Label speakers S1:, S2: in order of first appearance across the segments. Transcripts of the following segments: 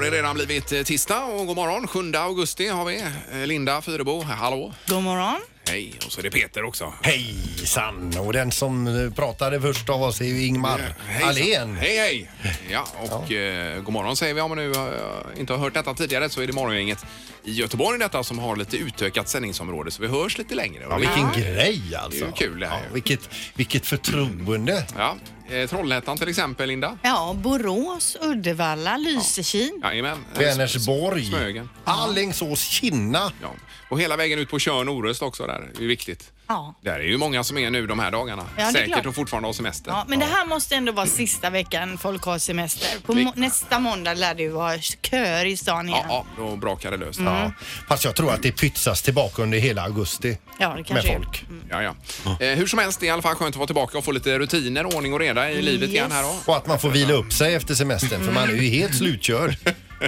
S1: det redan blivit eh, tisdag och god morgon. 7 augusti har vi. Eh, Linda Fyrebo, hallå.
S2: God morgon.
S1: Hej. Och så är det Peter också. Eh,
S3: Hejsan! Och den som eh, pratade först av oss är ju Ingmar
S1: Hejsan.
S3: Ahlén.
S1: Hej, hej. Ja, och eh, god morgon säger vi om man nu eh, inte har hört detta tidigare så är det morgongänget i Göteborg detta som har lite utökat sändningsområde så vi hörs lite längre.
S3: Ja,
S1: Och
S3: vilken
S1: det-
S3: grej alltså!
S1: Det är ju kul det här
S3: Ja,
S1: ju.
S3: vilket, vilket förtroende!
S1: Ja, eh, Trollhättan till exempel, Linda.
S2: Ja, Borås, Uddevalla, Lysekil.
S1: Jajamän. Eh,
S3: Vänersborg,
S1: Smögen.
S3: Alingsås, Kinna.
S1: Ja. Och hela vägen ut på Tjörn och Orust också där. Det är viktigt.
S2: Ja.
S1: Där är ju många som är nu de här dagarna.
S2: det är
S1: Säkert
S2: klart.
S1: och fortfarande har semester.
S2: Ja, men det här måste ändå vara sista veckan folk har semester. På
S1: Vi-
S2: må- nästa måndag lär det ju vara köer i stan
S1: Ja,
S2: igen.
S1: ja, då brakar det löst.
S2: Mm.
S3: Ja. Fast jag tror att det pytsas tillbaka under hela augusti
S2: Ja, det
S3: med
S2: kanske är.
S3: folk.
S1: Ja, ja. Eh, hur som helst, det är i alla fall skönt att vara tillbaka och få lite rutiner, och ordning och reda i
S2: Mm,
S1: livet igen här då.
S3: Och att man får vila upp sig efter semestern för man är ju helt slutkörd.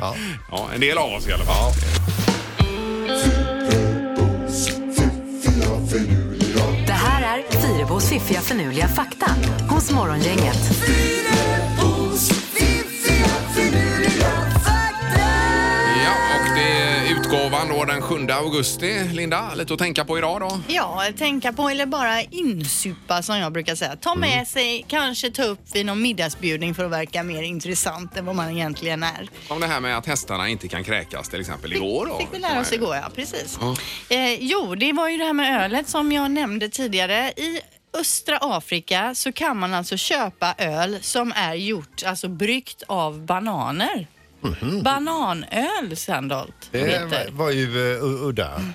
S3: Ja.
S1: Ja, en del av oss i alla fall.
S4: Det här är Fyrabos fiffiga förnuliga fakta hos Morgongänget.
S1: Ja, och det är utgåvan då den 7 augusti. Linda, lite att tänka på idag då.
S2: Ja, tänka på eller bara insupa som jag brukar säga. Ta med sig, kanske ta upp vid någon middagsbjudning för att verka mer intressant än vad man egentligen är.
S1: Om det här med att hästarna inte kan kräkas till exempel igår då.
S2: Fick vi lära oss igår, ja. Precis. Eh, jo, det var ju det här med ölet som jag nämnde tidigare. I östra Afrika så kan man alltså köpa öl som är gjort, alltså bryggt av bananer. Bananöl, Sandholt.
S3: Mhm. Det
S2: heter.
S3: var ju uh, udda.
S2: Mm.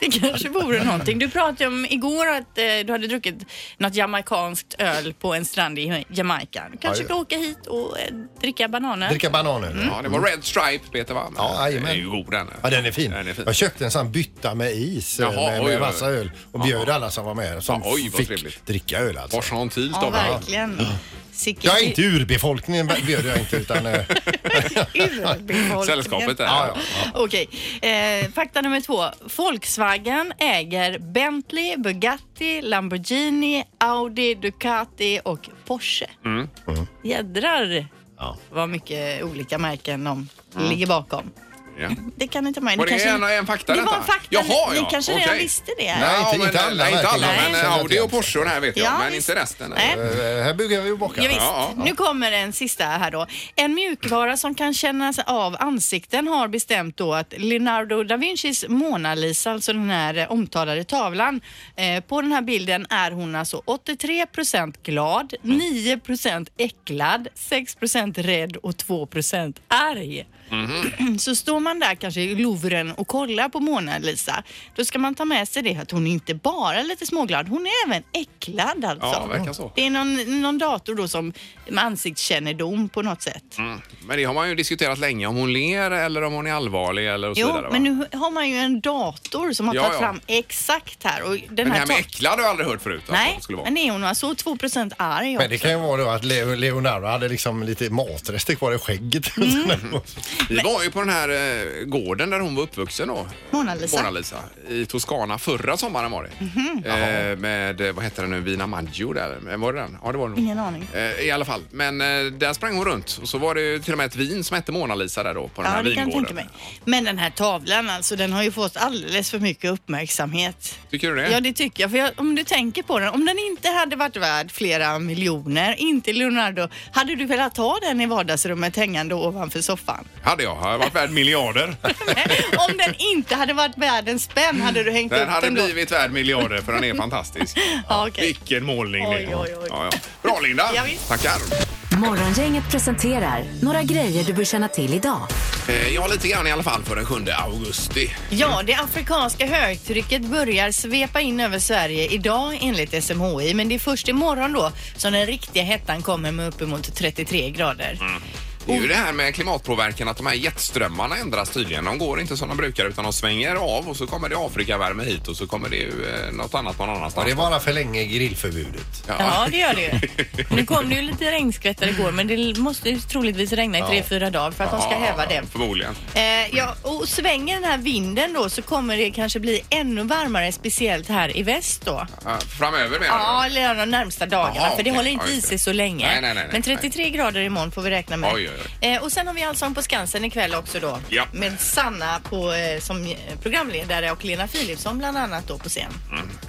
S2: Det kanske vore någonting. Du pratade ju om igår att eh, du hade druckit något jamaikanskt öl på en strand i Jamaica. Du kanske
S3: Ja,
S2: ska åka hit och eh, dricka bananer.
S3: Dricka bananer.
S2: Mm.
S1: Ja, det var Red Stripe, Peter va? Men
S3: Ja, jajamän.
S1: Den är ju god den.
S3: Ja, den är fin.
S1: Den är fin.
S3: Jag köpte en sån bytta med is
S1: Jaha,
S3: eh, med,
S1: oj, oj, oj.
S3: med massa öl och bjöd alla som var med som
S1: Ja, oj, vad
S3: fick
S1: trevligt.
S3: dricka öl alltså.
S1: Varsantilt
S2: Ja,
S1: av den.
S2: verkligen. Sicken
S3: Jag är inte urbefolkningen bjöd jag inte utan eh,
S2: urbefolkningen.
S1: Sällskapet där.
S3: Ja, ja,
S2: Okej, eh, fakta nummer två. Volkswagen äger Bentley, Bugatti, Lamborghini, Audi, Ducati och Porsche.
S1: Mm.
S2: Jädrar
S3: Ja.
S2: vad mycket olika märken de ligger bakom.
S1: Ja.
S2: Det kan ni ta med. Ni
S1: Mm. Var det
S2: kanske-
S1: en- en fakta
S2: Det var
S1: detta?
S2: en fakta.
S1: Jaha,
S2: ni
S1: ja.
S2: kanske redan
S1: Okej.
S2: visste det.
S3: Nej,
S1: Ja,
S3: inte-
S1: men,
S3: inte alla
S1: Nej, inte alla,
S3: verkligen.
S1: men
S3: Nej.
S1: eh, Audi och Porsche och det här vet jag.
S2: Ja,
S1: men
S2: visst.
S1: inte resten.
S2: Nej.
S3: eh, här bygger vi och bakar.
S2: Ja, visst.
S1: Ja, ja.
S2: Nu kommer en sista här då. En mjukvara som kan kännas av ansikten har bestämt då att Leonardo da Vincis Mona Lisa, alltså den här eh, omtalade tavlan, eh, på den här bilden är hon alltså 83 glad, 9 äcklad, 6 rädd och 2 arg. Så står man där kanske i Louvren och kollar på Mona Lisa, då ska man ta med sig det att hon är inte bara lite småglad, hon är även äcklad alltså.
S1: Ja, verkar så.
S2: Det är någon, någon dator då som med ansiktskännedom på något sätt.
S1: Mm. Men det har man ju diskuterat länge, om hon ler eller om hon är allvarlig eller och så
S2: Jo,
S1: vidare. va?
S2: men nu har man ju en dator som har
S1: Ja,
S2: tagit
S1: ja.
S2: fram exakt här. Och den
S1: Men det
S2: här
S1: här med
S2: ta-
S1: äcklad har jag aldrig hört förut. att
S2: Nej,
S1: det skulle vara.
S2: men är hon alltså 2 arg
S3: Men det kan ju vara då att Leo- Leonardo hade liksom lite matrester kvar i skägget. Mm.
S1: Vi var ju på den här eh, gården där hon var uppvuxen då.
S2: Mona Lisa. Mhm.
S1: Mona Lisa. I Toscana förra sommaren var det. Eh, med, eh, vad hette den nu, Vina Maggio där. Eh, Var det den? Ja, det var den.
S2: Ingen aning.
S1: Eh, I alla fall. Men eh, där sprang hon runt och så var det ju till och med ett vin som hette Mona Lisa där då på den
S2: Ja,
S1: här
S2: det kan jag
S1: vingården.
S2: tänka mig. Men den här tavlan alltså, den har ju fått alldeles för mycket uppmärksamhet.
S1: Tycker du det?
S2: Ja, det tycker jag. För jag, om du tänker på den, om den inte hade varit värd flera miljoner, inte Leonardo, hade du velat ha den i vardagsrummet hängande ovanför soffan?
S1: Hade jag. Har jag varit värd miljarder?
S2: Om den inte hade varit värd en spänn hade du hängt
S1: Den
S2: upp
S1: hade
S2: den då?
S1: blivit värd miljarder för den är fantastisk.
S2: Ja, okej.
S1: Vilken målning det är.
S2: Oj, oj, oj.
S1: Ja, ja. Bra Linda!
S2: Ja, visst.
S1: Tackar!
S4: Morgongänget presenterar några grejer du bör känna till idag.
S1: Eh, Ja, lite grann i alla fall för den 7 augusti.
S2: Ja, det afrikanska högtrycket börjar svepa in över Sverige idag enligt SMHI. Men det är först imorgon då som den riktiga hettan kommer med uppemot 33 grader.
S1: Mm. Det är ju det här med klimatpåverkan att de här jetströmmarna ändras tydligen. De går inte som de brukar utan de svänger av och så kommer det Afrikavärme hit och så kommer det ju eh, något annat någon
S3: Ja,
S1: annanstans.
S3: det var alla för länge grillförbudet.
S2: Ja, det gör det ju. Nu kom det ju lite regnskvättar igår men det måste ju troligtvis regna i tre fyra dagar för att de ska häva det.
S1: Förmodligen.
S2: Eh, ja, och svänger den här vinden då så kommer det kanske bli ännu varmare, speciellt här i väst då.
S1: Ja, Framöver menar
S2: Ja,
S1: du?
S2: eller de närmsta dagarna.
S1: Jaha,
S2: för det
S1: okej.
S2: håller inte
S1: Ja,
S2: i
S1: just
S2: sig
S1: det.
S2: så länge.
S1: Nej, nej, nej, nej.
S2: Men 33 grader imorgon får vi räkna med.
S1: Oj, oj, oj.
S2: Eh, och sen har vi Allsång på Skansen ikväll också då.
S1: Ja.
S2: Med Sanna på, eh, som eh, programledare och Lena Philipsson bland annat då på scen.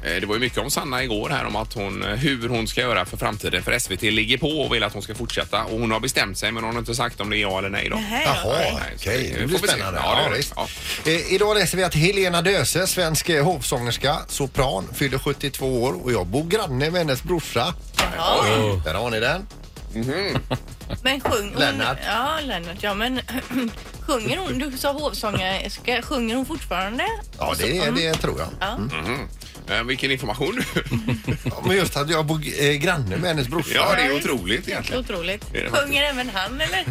S1: Eh, Det var ju mycket om Sanna igår här om att hon, eh, hur hon ska göra för framtiden. För SVT ligger på och vill att hon ska fortsätta. Och hon har bestämt sig men hon har inte sagt om det är ja eller nej då.
S2: Nähä,
S3: Jaha,
S2: ja.
S1: Nej, så
S3: okej.
S1: det-
S3: Det
S1: vi
S3: blir
S1: får väl se.
S3: spännande.
S1: Ja, det gör
S3: Ja,
S1: det.
S3: visst.
S1: Ja.
S3: Eh, idag läser vi att Helena Döse, svensk eh, hovsångerska, sopran, fyller 72 år och jag bor granne med hennes brorsa.
S2: Jaha.
S3: Där har ni den.
S2: Men sjung, hon,
S3: Lennart.
S2: Ja, Lennart. Ja, men sjunger hon, du sa hovsångerska, sjunger hon fortfarande?
S3: Ja, det,
S1: Mm.
S3: är- det tror jag.
S1: Eh, Vilken information du...
S3: Ja, men just att jag bor eh, granne med hennes brorsa.
S1: Ja, det är otroligt egentligen.
S2: Otroligt.
S1: Det är det
S2: Sjunger även han eller?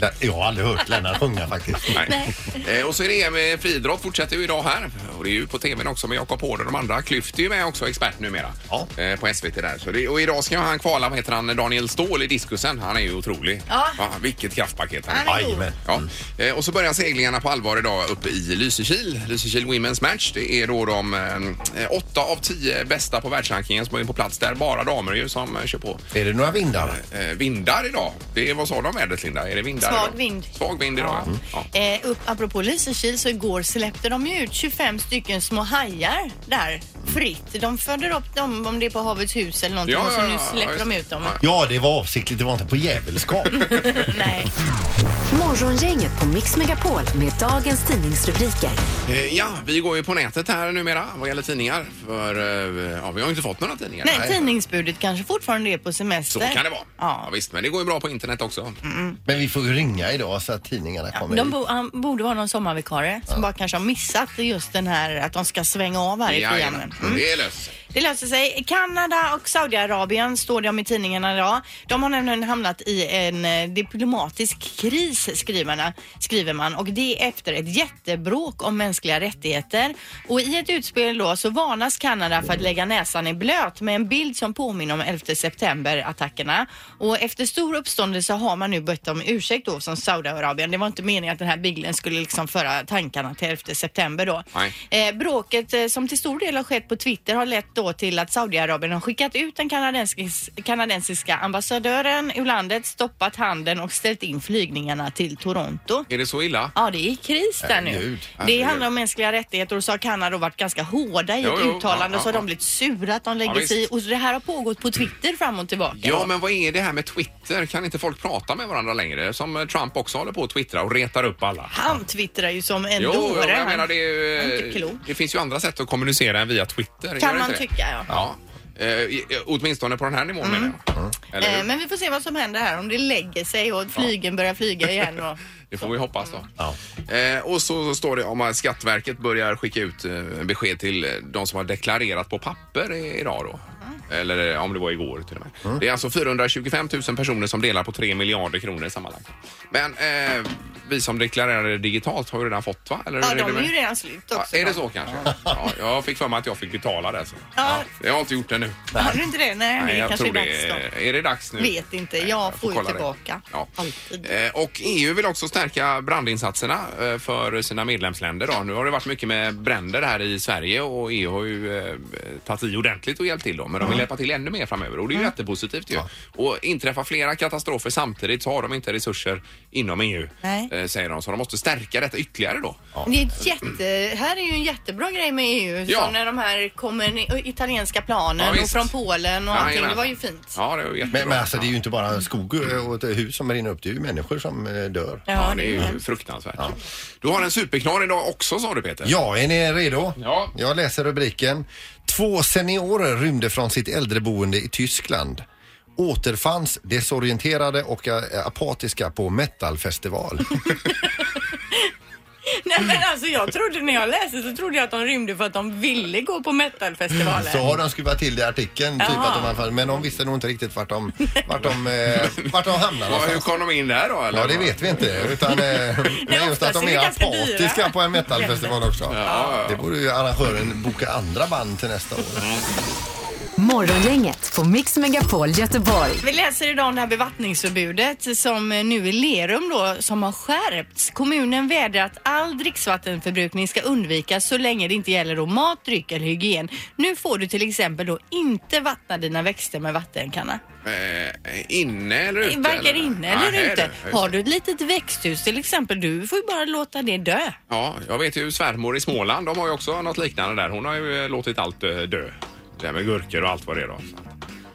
S3: Nej, Jag har aldrig hört Lennart sjunga faktiskt.
S1: Nej. Eh, Och så är det EM i friidrott fortsätter ju idag här. Och det är ju på tvn också med Jakob Hård och de andra. Klyft är ju med också, expert numera.
S3: Ja.
S1: Eh, På SVT där. Så det, och idag ska han kvala, vad heter han, Daniel Ståhl i diskusen. Han är ju otrolig.
S2: Ja.
S1: vilket kraftpaket han är.
S2: Han är god.
S3: Jajamän.
S1: Ja. Eh, Och så börjar seglingarna på allvar idag uppe i Lysekil. Lysekil Women's Match. Det är då de eh, åtta av tio bästa på världsrankingen som är på plats där. Bara damer ju som eh, kör på.
S3: Är det några vindar?
S1: Eh, vindar idag. Det är, vad sa de om vädret Linda? Är det vindar
S2: Svag
S1: idag?
S2: vind.
S1: Svag vind idag ja. Mm. ja.
S2: Eh, upp, apropå Lysekil så igår släppte de ju ut 25 stycken små hajar där fritt. De föder upp dem om det är på Havets hus eller någonting
S1: Ja,
S2: och så
S1: ja,
S2: nu
S1: ja,
S2: släpper
S1: just
S2: de
S1: det.
S2: ut dem.
S3: Ja, det var avsiktligt. Det var inte på djävulskap.
S2: Nej.
S4: Morgongänget på Mix Megapol med dagens tidningsrubriker.
S1: Eh, Ja, vi går ju på nätet här numera vad gäller tidningar. För eh, ja, vi har ju inte fått några tidningar.
S2: Nej, tidningsbudet kanske fortfarande är på
S1: Så
S2: semester.
S1: kan det vara. Ja.
S2: Ja. Mm,
S1: visst, men det går ju bra på internet också.
S3: Men vi får ju ringa idag så att tidningarna kommer
S2: De
S3: hit.
S2: bo, han borde vara någon sommarvikarie som bara kanske har missat just den här att de ska svänga av här i
S1: Jajamän.
S2: programmen. Mm.
S1: Det är löst.
S2: Det löser sig. Kanada och Saudiarabien står det om i tidningarna idag. De har nämligen hamnat i en eh, diplomatisk kris skriverna, skriver man och det är efter ett jättebråk om mänskliga rättigheter. Och i ett utspel då så varnas Kanada för att lägga näsan i blöt med en bild som påminner om 11 september-attackerna. Och efter stor uppståndelse har man nu bett om ursäkt då som Saudiarabien. Det var inte meningen att den här bilden skulle liksom föra tankarna till 11 september då.
S1: Nej.
S2: Eh, bråket eh, som till stor del har skett på Twitter har lett då till att Saudiarabien har skickat ut den kanadensik- kanadensiska ambassadören ur landet, stoppat handeln och ställt in flygningarna till Toronto.
S1: Är det så illa?
S2: Ja, det är kris där nu.
S3: Herregud.
S2: Det handlar om mänskliga rättigheter och så har Kanada varit ganska hårda i
S1: Jo,
S2: ett
S1: jo,
S2: uttalande
S1: ja,
S2: så har
S1: ja,
S2: de blivit sura att de
S1: Ja,
S2: lägger
S1: visst.
S2: sig i. Och det här har pågått på Twitter fram och tillbaka.
S1: Ja, men vad är det här med Twitter? Kan inte folk prata med varandra längre? Som eh, Trump också håller på att twittra och retar upp alla.
S2: Han twittrar ju som en
S1: Jo, jo,
S2: dåre.
S1: jag
S2: Han-
S1: menar det, är ju,
S2: han är inte
S1: eh,
S2: klok.
S1: det finns ju andra sätt att kommunicera än via Twitter. Gör
S2: Kan
S1: det
S2: man
S1: inte det?
S2: tycka, ja. Mm.
S1: ja. Eh, i- eh, åtminstone på den här nivån menar jag. Eller
S2: Eh,
S1: hur?
S2: Men vi får se vad som händer här om det lägger sig och flygen börjar flyga igen. Och...
S1: Det får vi hoppas då.
S3: Ja.
S1: Eh, och så, så står det om att Skatteverket börjar skicka ut eh, besked till eh, de som har deklarerat på papper i, idag då.
S2: Mm.
S1: Eller eh, om det var igår till och med. Det är alltså 425 000 personer som delar på 3 miljarder kronor sammanlagt. Men eh, vi som deklarerade digitalt har ju redan fått va? Eller hur
S2: Ja,
S1: är det
S2: de är
S1: med-
S2: ju redan slut
S1: Ja,
S2: också.
S1: är det så kanske? Ja, jag fick för mig att jag fick betala det. Så.
S2: Ja.
S1: Det har jag inte gjort det nu.
S2: Har du inte det? Nej, det kanske är dags då.
S1: är, är det dags nu?
S2: Vet inte. Jag får ju
S1: kolla det.
S2: tillbaka.
S1: Ja.
S2: Alltid.
S1: Eh, Och EU vill också stärka brandinsatserna eh, för sina medlemsländer. Då. Nu har det varit mycket med bränder här i Sverige och EU har ju eh, tagit i ordentligt och hjälpt till. Då. Men de vill hjälpa till ännu mer framöver och det är ju jättepositivt. Ju. Och inträffar flera katastrofer samtidigt så har de inte resurser inom EU,
S2: Nej.
S1: eh, säger de. Så de måste stärka detta ytterligare då.
S2: Det är ett jätte, här är ju en jättebra grej med EU.
S1: Ja.
S2: Som när de här kommer ni- italienska planen
S1: Ja,
S2: och
S1: visst.
S2: från Polen och allting. Det
S1: Jajamän.
S2: var ju fint.
S1: Ja, det var jättebra.
S3: Men, men alltså det är ju inte bara skog och ett hus som brinner upp. Det är ju människor som eh, dör.
S1: Ja, det är ju fruktansvärt. Du har en superknar idag också sa du Peter.
S3: Ja, är ni redo?
S1: Ja.
S3: Jag läser rubriken. Två seniorer rymde från sitt äldreboende i Tyskland. Återfanns desorienterade och eh, apatiska på metalfestival.
S2: Nej men alltså jag trodde när jag läste så trodde jag att de rymde för att de ville gå på metalfestivalen.
S3: Så har de skruvat till det i artikeln. Typ
S2: Jaha.
S3: att de, men de visste nog inte riktigt vart de, vart de, eh, vart de hamnade.
S1: Ja, hur
S3: någonstans.
S1: kom de in där då? Eller?
S3: Ja, det vet vi inte. Utan, eh, men just att
S2: oftast
S3: de
S2: är
S3: är
S2: det ganska dyra.
S3: apatiska på en metalfestival också. Det borde ju arrangören boka andra band till nästa år.
S4: Morgongänget på Mix Megapol Göteborg.
S2: Vi läser idag om det här bevattningsförbudet som eh, nu i Lerum då, som har skärpts. Kommunen vädrar att all dricksvattenförbrukning ska undvikas så länge det inte gäller då mat, dryck eller hygien. Nu får du till exempel då inte vattna dina växter med vattenkanna.
S1: Eh, inne eller ute?
S2: Varken inne eller
S1: Nej,
S2: ute.
S1: du.
S2: Har du ett litet växthus till exempel, du får ju bara låta det dö.
S1: Ja, jag vet ju svärmor i Småland, de har ju också något liknande där. Hon har ju eh, låtit allt eh, dö. Det här med gurkor och allt vad det är då.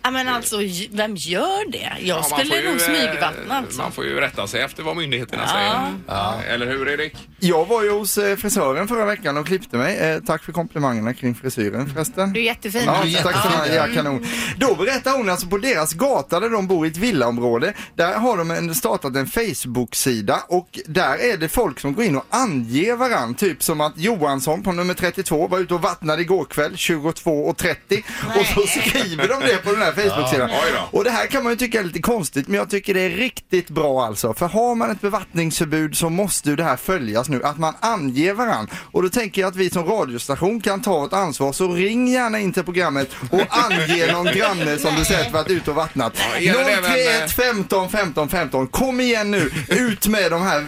S2: Ja, men alltså, j- vem gör det? Jag
S1: Ja, man får
S2: skulle
S1: ju,
S2: nog
S1: eh,
S2: smygvattna alltså.
S1: Man får ju rätta sig efter vad myndigheterna säger. Eller hur Erik?
S5: Jag var ju hos eh, frisören förra veckan och klippte mig. Eh, tack för komplimangerna kring frisyren förresten.
S2: Du är jättefin.
S5: Ja,
S3: Du är
S5: tack
S3: jättefin.
S5: för det. Ja, kanon. Då berättar hon alltså på deras gata där de bor i ett villaområde. Där har de en, startat en Facebook-sida och där är det folk som går in och anger varann. Typ som att Johansson på nummer 32 var ute och vattnade igår kväll 22.30 och så skriver de det på den här Facebook-sidan.
S1: Ja. Oj då.
S5: Och det här kan man ju tycka är lite konstigt men jag tycker det är riktigt bra alltså. För har man ett bevattningsförbud så måste ju det här följas nu, att man anger varann. Och då tänker jag att vi som radiostation kan ta ett ansvar så ring gärna in till programmet och ange någon granne som du sett varit ute och vattnat.
S1: Ja, gärna det, men, eh,
S5: 031 15 15 15, kom igen nu, ut med de här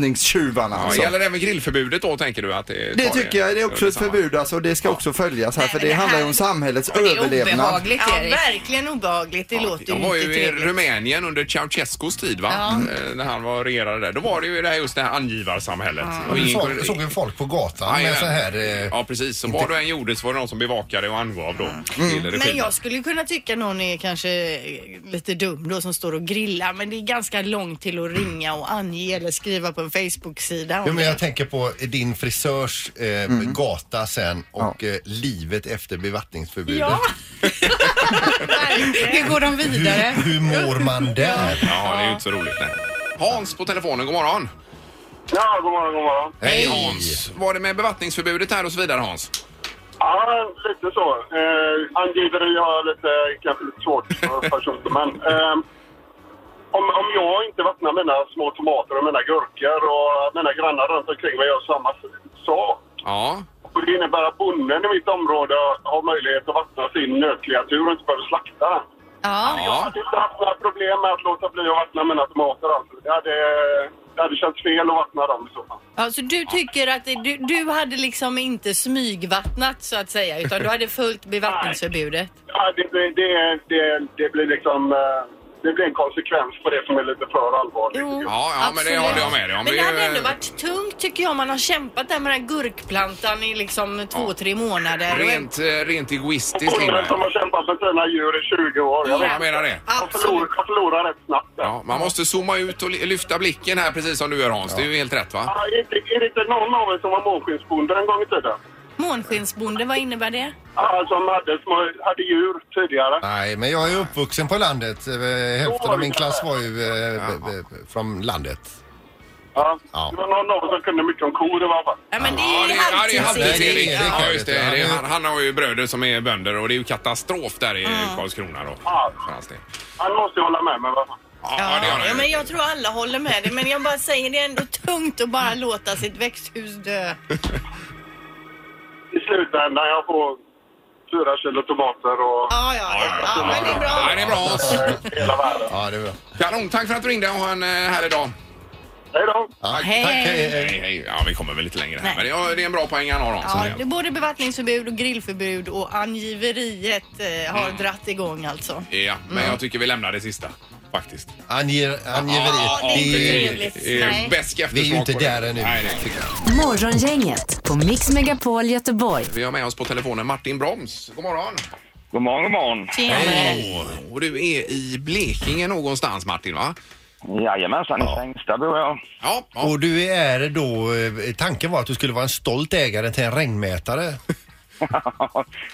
S5: bevattningstjuvarna
S1: Ja,
S5: alltså.
S1: Gäller även grillförbudet då tänker du? Att det,
S5: Det
S1: tar
S5: tycker jag, det är också ett
S1: detsamma?
S5: förbud alltså, och det ska också följas här
S6: Nej,
S5: för
S6: men
S5: det
S6: det
S5: handlar ju
S6: här-
S5: om samhällets
S6: Det är
S5: överlevnad.
S6: obehagligt
S2: Ja,
S6: Erik.
S2: verkligen obehagligt. Det låter ju
S1: Jag var
S2: inte
S1: ju i
S2: trevligt.
S1: Rumänien under Ceausescus tid va? Eh, När han var regerare där. Då var det ju det här, just det här angivarsamhället. Och
S3: Du
S1: ingen
S3: såg,
S1: kunde-
S3: såg ju folk på gatan med
S1: Jajamän.
S3: så här... Eh,
S1: Ja precis, så vad du än gjorde så var det någon som bevakade och angav då. till regimen.
S2: Men jag skulle kunna tycka någon är kanske eh, lite dum då som står och grillar men det är ganska långt till att ringa och ange eller skriva på en Facebook-sida.
S3: Jo, men jag tänker på din frisörs eh, gata sen och eh, livet efter bevattningsförbudet.
S2: Ja. Hur går de
S3: Hur,
S2: vidare?
S3: hur mår man där?
S1: Ja, det är ju inte så roligt. Nej. Hans på telefonen, god morgon.
S7: Ja, god morgon, god morgon.
S1: Hej Hans. Var det med bevattningsförbudet här och så vidare Hans?
S7: Ja, lite så. Eh, angiveri har jag lite, kanske lite svårt för personer, men eh, om, om jag inte vattnar mina små tomater och mina gurkor och mina grannar runt omkring mig gör samma sak
S1: Ja.
S7: och det innebär att bonden i mitt område har möjlighet att vattna sin nötkreatur och inte behöver slakta den.
S2: Ja.
S7: Jag
S1: Ja.
S7: hade inte haft några problem med att låta bli att vattna mina tomater. Alltså. Det, hade, det hade känts fel att vattna dem i så fall.
S2: Alltså, du tycker att det- du, du hade liksom inte smygvattnat så att säga utan du hade följt bevattningsförbudet.
S7: Ja, det, blir- det, det, det blir liksom... eh, Det blir en konsekvens på det som är lite för allvarligt.
S2: Jo,
S1: Ja, ja, men det
S2: absolut.
S1: håller jag med dig om.
S2: Men
S1: Det
S2: det
S1: är
S2: hade
S1: ju-
S2: ändå varit tungt tycker jag. Man har kämpat där med den här gurkplantan i liksom två, tre månader.
S1: Rent, eh, rent egoistiskt
S7: Bonden
S1: Ingmar.
S7: som har kämpat med sina djur i 20 år. Jag
S1: Ja,
S7: vet
S1: jag menar det.
S7: Han förlorar, han förlorar rätt snabbt. där.
S1: Ja, man måste zooma ut och li- lyfta blicken här precis som du gör Hans. Det är ju helt rätt va?
S7: Ja, är, det inte, är det inte någon av er som var månskensbonde en gång i tiden?
S2: Månskensbonde, vad innebär det?
S7: Ja, som hade, små, hade djur tidigare.
S3: Nej, men jag är uppvuxen på landet. Eh, Hälften av min klass var ju eh, b- b- från landet.
S7: Ja.
S3: Ja.
S7: Det var någon av er som kunde mycket om kor i varje fall.
S2: Ja, men det
S1: Ja,
S2: är
S1: det är, ja, det
S2: ju
S1: är
S2: halvtids...
S1: halvtids
S3: Nej, det är
S1: Erik.
S3: Erik
S1: Ja,
S3: här,
S1: just
S3: vet
S1: det.
S3: du.
S1: det är,
S3: Han
S1: han,
S3: är-
S1: han har ju bröder som är bönder och det är ju katastrof där i Karlskrona då.
S7: Ja.
S1: För hans del.
S7: Han måste ju hålla med mig. va?
S1: Ja, ja, det har
S2: Ja,
S1: han
S2: men
S1: ju.
S2: jag tror alla håller med dig, men jag bara säger det är ändå tungt att bara låta sitt växthus dö.
S7: I slutändan jag får fyra kilo tomater och
S2: Ja, ja, ja. ja men det är
S1: Ja,
S2: bra.
S1: det är bra Hans.
S7: hela världen.
S3: Ja, det var...
S1: Kanon, tack för att du ringde och ha en eh, härlig dag.
S7: Hej då!
S3: Ja,
S2: Hej.
S3: Tack, hej, hej.
S1: Hej, hej. Ja, vi kommer väl lite längre här.
S2: Nej.
S1: Men det är, det är en bra poäng han har Hans.
S2: Ja, det är både bevattningsförbud och grillförbud och angiveriet eh, har dratt igång alltså.
S1: Ja, men jag tycker vi lämnar det sista faktiskt.
S3: Anger,
S2: Ja, det är
S3: angiveriet.
S2: inte
S3: Det är-
S2: trevligt.
S1: Det är
S2: Nej.
S1: bäst
S3: Vi är ju
S1: eftersmak
S3: inte
S1: på det.
S3: där ännu.
S1: Nej, nej, tycker jag.
S4: Morgongänget på Mix Megapol Göteborg.
S1: Vi har med oss på telefonen Martin Broms. God morgon!
S8: God morgon, god morgon.
S2: Tjenare.
S1: Åh, Och du är i Blekinge någonstans Martin va?
S8: Jajamensan, i Sängsta bor jag.
S1: Ja, ja.
S3: Och du är då, eh, tanken var att du skulle vara en stolt ägare till en regnmätare.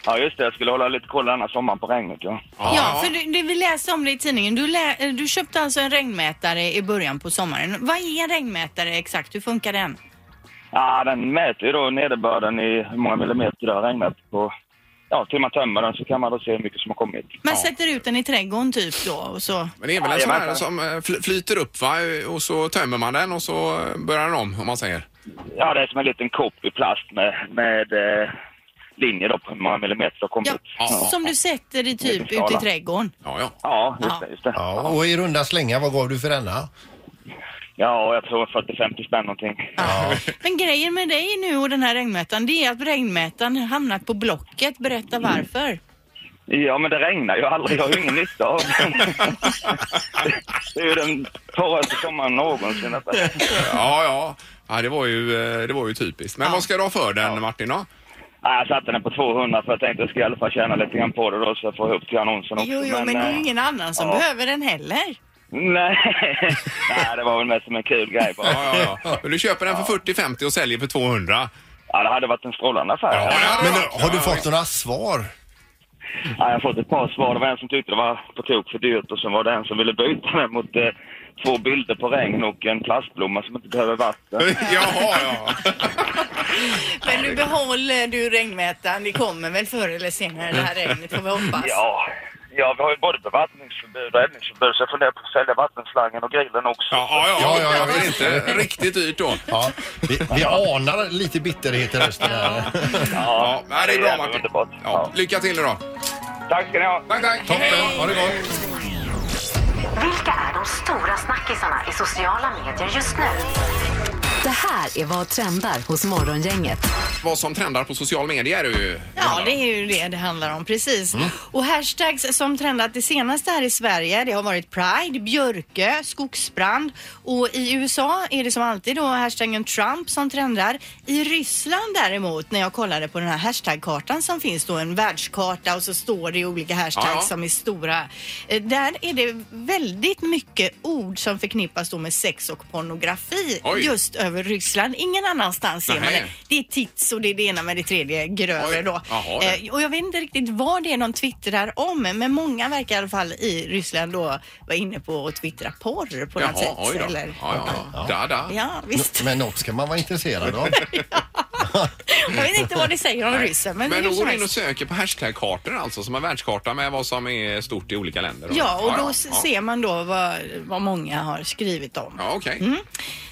S8: ja, just det. Jag skulle hålla lite koll denna sommaren på regnet. Ja.
S2: Ja, för du, du, vi läste om det i tidningen. Du, lä, eh, du köpte alltså en regnmätare i början på sommaren. Vad är en regnmätare exakt? Hur funkar den?
S8: Ja, den mäter ju då nederbörden i hur många millimeter det har regnat. På, ja, till man tömmer den så kan man då se hur mycket som har kommit.
S2: Man
S1: Ja.
S2: sätter ut den i trädgården typ då och så.
S1: Men det är väl en sån här som eh, fly- flyter upp va? Och så tömmer man den och så börjar den om om man säger.
S8: Ja, det är som en liten kopp i plast med, med eh, linjer då på hur många millimeter det har kommit
S2: Ja,
S8: ut.
S1: Ja.
S2: som du sätter i typ
S8: Skala.
S2: ute i trädgården.
S1: Ja, ja.
S8: Ja, just det. Just det.
S3: Ja, och i runda slängar, vad gav du för denna?
S8: Ja, jag tror 40-50 spänn någonting.
S2: Men grejen med dig nu och den här regnmätaren, det är att regnmätaren har hamnat på Blocket. Berätta
S8: Mm.
S2: varför.
S8: Ja, men det regnar ju aldrig. Jag har ju ingen nytta av den. Det är ju den torraste sommaren någonsin. detta.
S1: Ja, ja. ja det, var ju, eh, det var ju typiskt. Men vad ska du ha för den, Martin? Då?
S8: Ja, Jag satte den på 200 för jag tänkte jag ska i alla fall tjäna lite grann på det då så jag får ihop till annonsen också.
S2: Jo, jo, men det är ju
S8: eh,
S2: ingen annan som
S8: ja.
S2: behöver den heller.
S8: Nej. nej, det var väl mest som en kul grej bara.
S1: Ja, ja, ja. Men Du köper den för 40-50 och säljer för 200.
S8: Ja, det hade varit en strålande affär.
S1: Ja, det hade
S3: Men eh,
S1: varit.
S3: har du
S1: Ja,
S3: fått några svar?
S8: Ja, jag har fått ett par svar. Det var en som tyckte det var på tok för dyrt och sen var det en som ville byta den mot eh, två bilder på regn och en plastblomma som inte behöver vatten.
S1: Jaha, ja.
S2: Men du behåller du regnmätaren. Det kommer väl förr eller senare det här regnet får vi hoppas.
S8: Ja, ja vi har ju både bevattningsförbud och eldningsförbud så jag funderar på att sälja vattenslangen och grillen också.
S1: Ja, ja,
S3: Ja,
S1: ja,
S3: ja, ja,
S1: det är
S3: visst.
S1: inte riktigt dyrt då.
S3: Ja, vi, vi anar lite bitterhet i rösten här.
S1: Ja, nej, det är bra
S8: jävla
S1: Martin.
S8: underbart.
S1: Ja, lycka till idag.
S8: Tack ska ni ha.
S1: Tack, tack.
S3: Toppen, ha det gott.
S4: Vilka är de stora snackisarna i sociala medier just nu? Det här är vad trendar hos Morgongänget.
S1: Vad som trendar på social media är det ju.
S2: Ja, det är ju det det handlar om, precis.
S1: Mm.
S2: Och hashtags som trendat det senaste här i Sverige, det har varit Pride, Björke, skogsbrand och i USA är det som alltid då hashtaggen Trump som trendar. I Ryssland däremot, när jag kollade på den här hashtagkartan som finns då, en världskarta och så står det olika hashtags
S1: Ja, ja.
S2: som är stora. Eh, Där är det väldigt mycket ord som förknippas då med sex och pornografi
S1: Oj.
S2: just över Ryssland. Ingen annanstans ser man
S1: Nej.
S2: det. Det är tits och det är det ena med det tredje grövre
S1: Oj.
S2: då.
S1: Jaha,
S2: Eh,
S1: det.
S2: och jag vet inte riktigt vad det är de twittrar om, men många verkar i alla fall i Ryssland då vara inne på att twittra porr på något sätt.
S1: oj då.
S2: Eller,
S1: Ja, ja. Da, da.
S2: ja, visst.
S3: Men något ska man vara intresserad av.
S2: jag vet inte vad det säger om ryssen, men,
S1: Men
S2: hur
S1: då går
S2: som
S1: du in och
S2: helst.
S1: söker på hashtag-kartor alltså, som en världskarta med vad som är stort i olika länder.
S2: Ja, och då
S1: ja.
S2: s- ser man då vad, vad många har skrivit om.
S1: Ja, okej.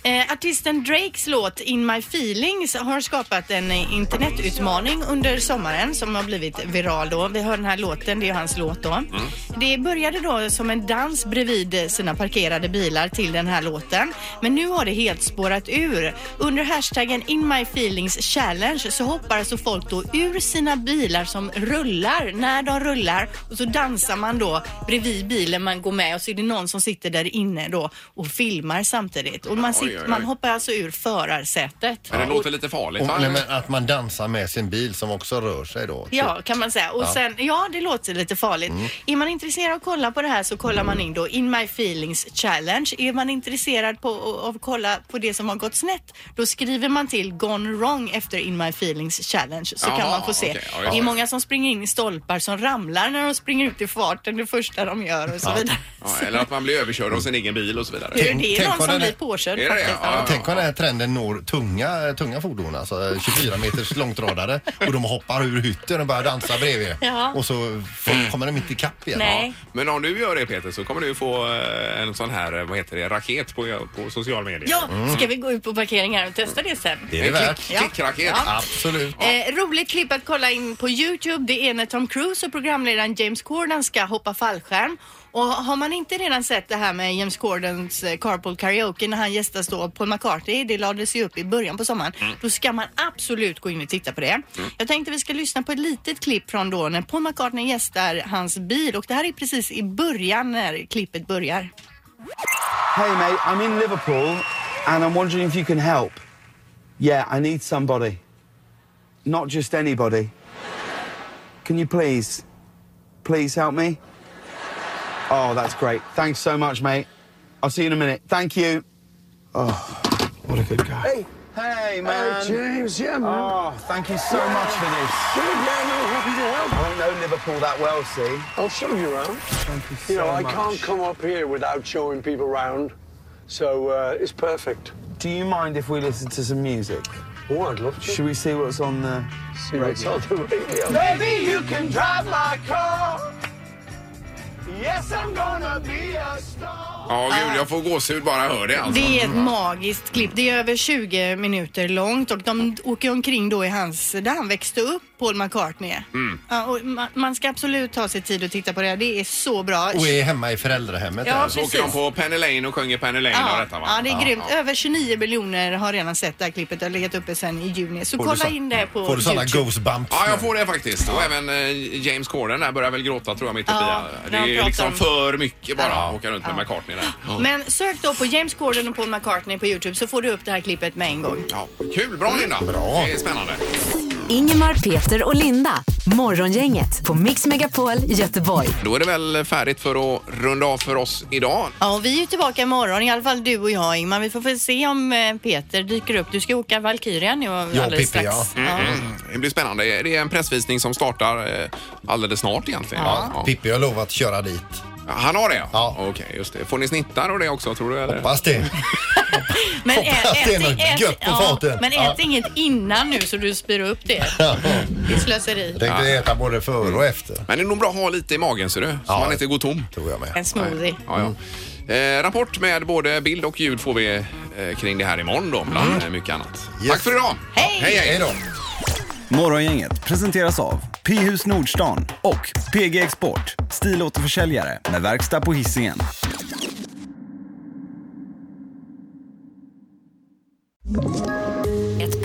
S2: Eh, artisten Drakes låt In My Feelings har skapat en eh, internetutmaning under sommaren som har blivit viral då. Vi hör den här låten, det är ju hans låt då. Det började då som en dans bredvid eh, sina parkerade bilar till den här låten. Men nu har det helt spårat ur. Under hashtaggen In My Feelings Challenge så hoppar alltså folk då ur sina bilar som rullar när de rullar och så dansar man då bredvid bilen man går med och så är det någon som sitter där inne då och filmar samtidigt. Och man,
S1: Oj,
S2: sitter,
S1: oj, oj.
S2: man hoppar alltså ur förarsätet.
S1: Men det låter lite farligt,
S3: Och,
S1: va?
S3: nej, men att man dansar med sin bil som också rör sig då.
S2: Ja, kan man säga. Och sen, ja, det låter lite farligt.
S1: Mm.
S2: Är man intresserad av att kolla på det här så kollar man in då In My Feelings Challenge. Är man intresserad på, av att kolla på det som har gått snett, då skriver man till Gone Wrong efter In My Feelings Challenge så
S1: Jaha,
S2: kan man få se.
S1: okej. Ja, just
S2: det är
S1: det.
S2: många som springer in i stolpar som ramlar när de springer ut i farten det första de gör och så vidare.
S1: Ja, eller att man blir överkörd av sin egen bil och så vidare.
S2: Det är
S3: Tänk-
S2: ju det
S3: tänk
S2: någon
S3: vad
S2: som
S3: den är-
S2: blir påkörd
S1: Är det det?
S2: faktiskt.
S1: Ja, ja.
S3: Tänk om den här trenden når tunga, tunga fordon, alltså eh, 24 meters långtradare och de hoppar ur hytten och börjar dansa bredvid.
S2: Ja.
S3: Och så f- kommer de inte ikapp igen.
S2: Nej.
S1: Men om du gör det Peter så kommer du få eh, en sån här, eh, vad heter det, raket på, på social media.
S2: Ja, ska vi gå ut på parkeringen och testa det sen?
S3: Det är det
S1: En
S3: värt.
S1: kick, kickraket.
S2: Ja.
S3: Absolut.
S2: Eh, roligt klipp att kolla in på Youtube. Det är när Tom Cruise och programledaren James Corden ska hoppa fallskärm. Och har man inte redan sett det här med James Cordens eh, carpool karaoke när han gästas då av Paul McCartney, det lades ju upp i början på sommaren, då ska man absolut gå in och titta på det. Jag tänkte vi ska lyssna på ett litet klipp från då när Paul McCartney gästar hans bil och det här är precis i början när klippet börjar.
S6: Hey, mate, I'm in Liverpool and I'm wondering if you can help. Yeah, I need somebody. Not just anybody. Can you please, please help me? Oh, that's great. Thanks so much, mate. I'll see you in a minute. Thank you. Oh, what a good guy. Hey, hey, man. James, yeah, man. Oh, thank you so much for this. I don't know Liverpool that well, see.
S9: I'll show you around.
S6: Thank you so
S9: You know, I
S6: much.
S9: can't come up here without showing people round, so uh, it's perfect.
S6: Do you mind if we listen to some music?
S9: Oh, I'd love to.
S6: Should we see what's on the
S9: See what's on the radio.
S6: Maybe you can drive my car. Yes, I'm gonna be a star.
S1: Ja, gud, jag får gåshud bara jag hör det alltså.
S2: Det är ett magiskt klipp. Det är över 20 minuter långt och de åker omkring då i hans, där han växte upp Paul McCartney är.
S3: Mm.
S2: Ja, och man, man ska absolut ta sig tid att titta på det. här. Det är så bra.
S3: Och är hemma i föräldrahemmet.
S2: Ja,
S3: här.
S1: Så åker de
S2: precis.
S1: på Penny Lane och sjunger Penny Lane och
S2: Ja,
S1: detta va?
S2: ja, det är grymt.
S1: ja.
S2: Över 29 miljoner har redan sett det här klippet. Det har legat uppe sedan i juni. Så
S3: Får du
S2: kolla
S3: så-
S2: in det på
S3: Får du sådana
S2: YouTube.
S3: goosebumps?
S1: Ja,
S3: nu?
S1: jag får det faktiskt. Och även eh, James Corden där börjar väl gråta tror jag mitt uppe i.
S2: Ja,
S1: Det
S2: när
S1: är
S2: han
S1: ju
S2: pratar
S1: liksom
S2: om-
S1: för mycket bara att åka runt med McCartney där.
S2: Men sök då på James Corden och Paul McCartney på Youtube så får du upp det här klippet med en gång.
S1: Ja, kul, bra Linda.
S3: Bra.
S1: Det är spännande.
S4: Ingemar, Peter och Linda. Morgongänget på Mix Megapol Göteborg.
S1: Då är det väl färdigt för att runda av för oss idag.
S2: Ja, och vi är ju tillbaka imorgon, i alla fall du och jag Ingmar. Vi får väl se om eh, Peter dyker upp. Du ska åka Valkyria nu
S3: Ja,
S2: alldeles
S3: Pippi,
S2: strax.
S3: ja. Mm,
S1: Mm, Det blir spännande. Det är en pressvisning som startar eh, alldeles snart egentligen. Ja.
S3: Pippi har lovat att köra dit.
S1: Han har det?
S3: Ja.
S1: Okej, just det. Får ni snittar och det också tror du? Eller?
S3: Fast det.
S2: Men
S3: Hoppas det är något gött på faten.
S2: men
S3: Ja.
S2: ät inget innan nu så du spyr upp det. Det är slöseri.
S3: Jag tänkte äta både före och efter.
S1: Men det är nog bra att ha lite i magen ser du, så
S3: Ja.
S1: man inte går tom.
S3: Tror jag
S2: En
S3: med.
S2: smoothie.
S1: Ja, ja. Eh, rapport med både bild och ljud får vi eh, kring det här imorgon då, bland eh, mycket annat.
S3: Yes.
S1: Tack för idag!
S2: Hej!
S1: hej, hej
S3: Hej då.
S10: Morgongänget presenteras av P-hus Nordstan och PG Export, stilåterförsäljare med verkstad på Hisingen.
S4: Ett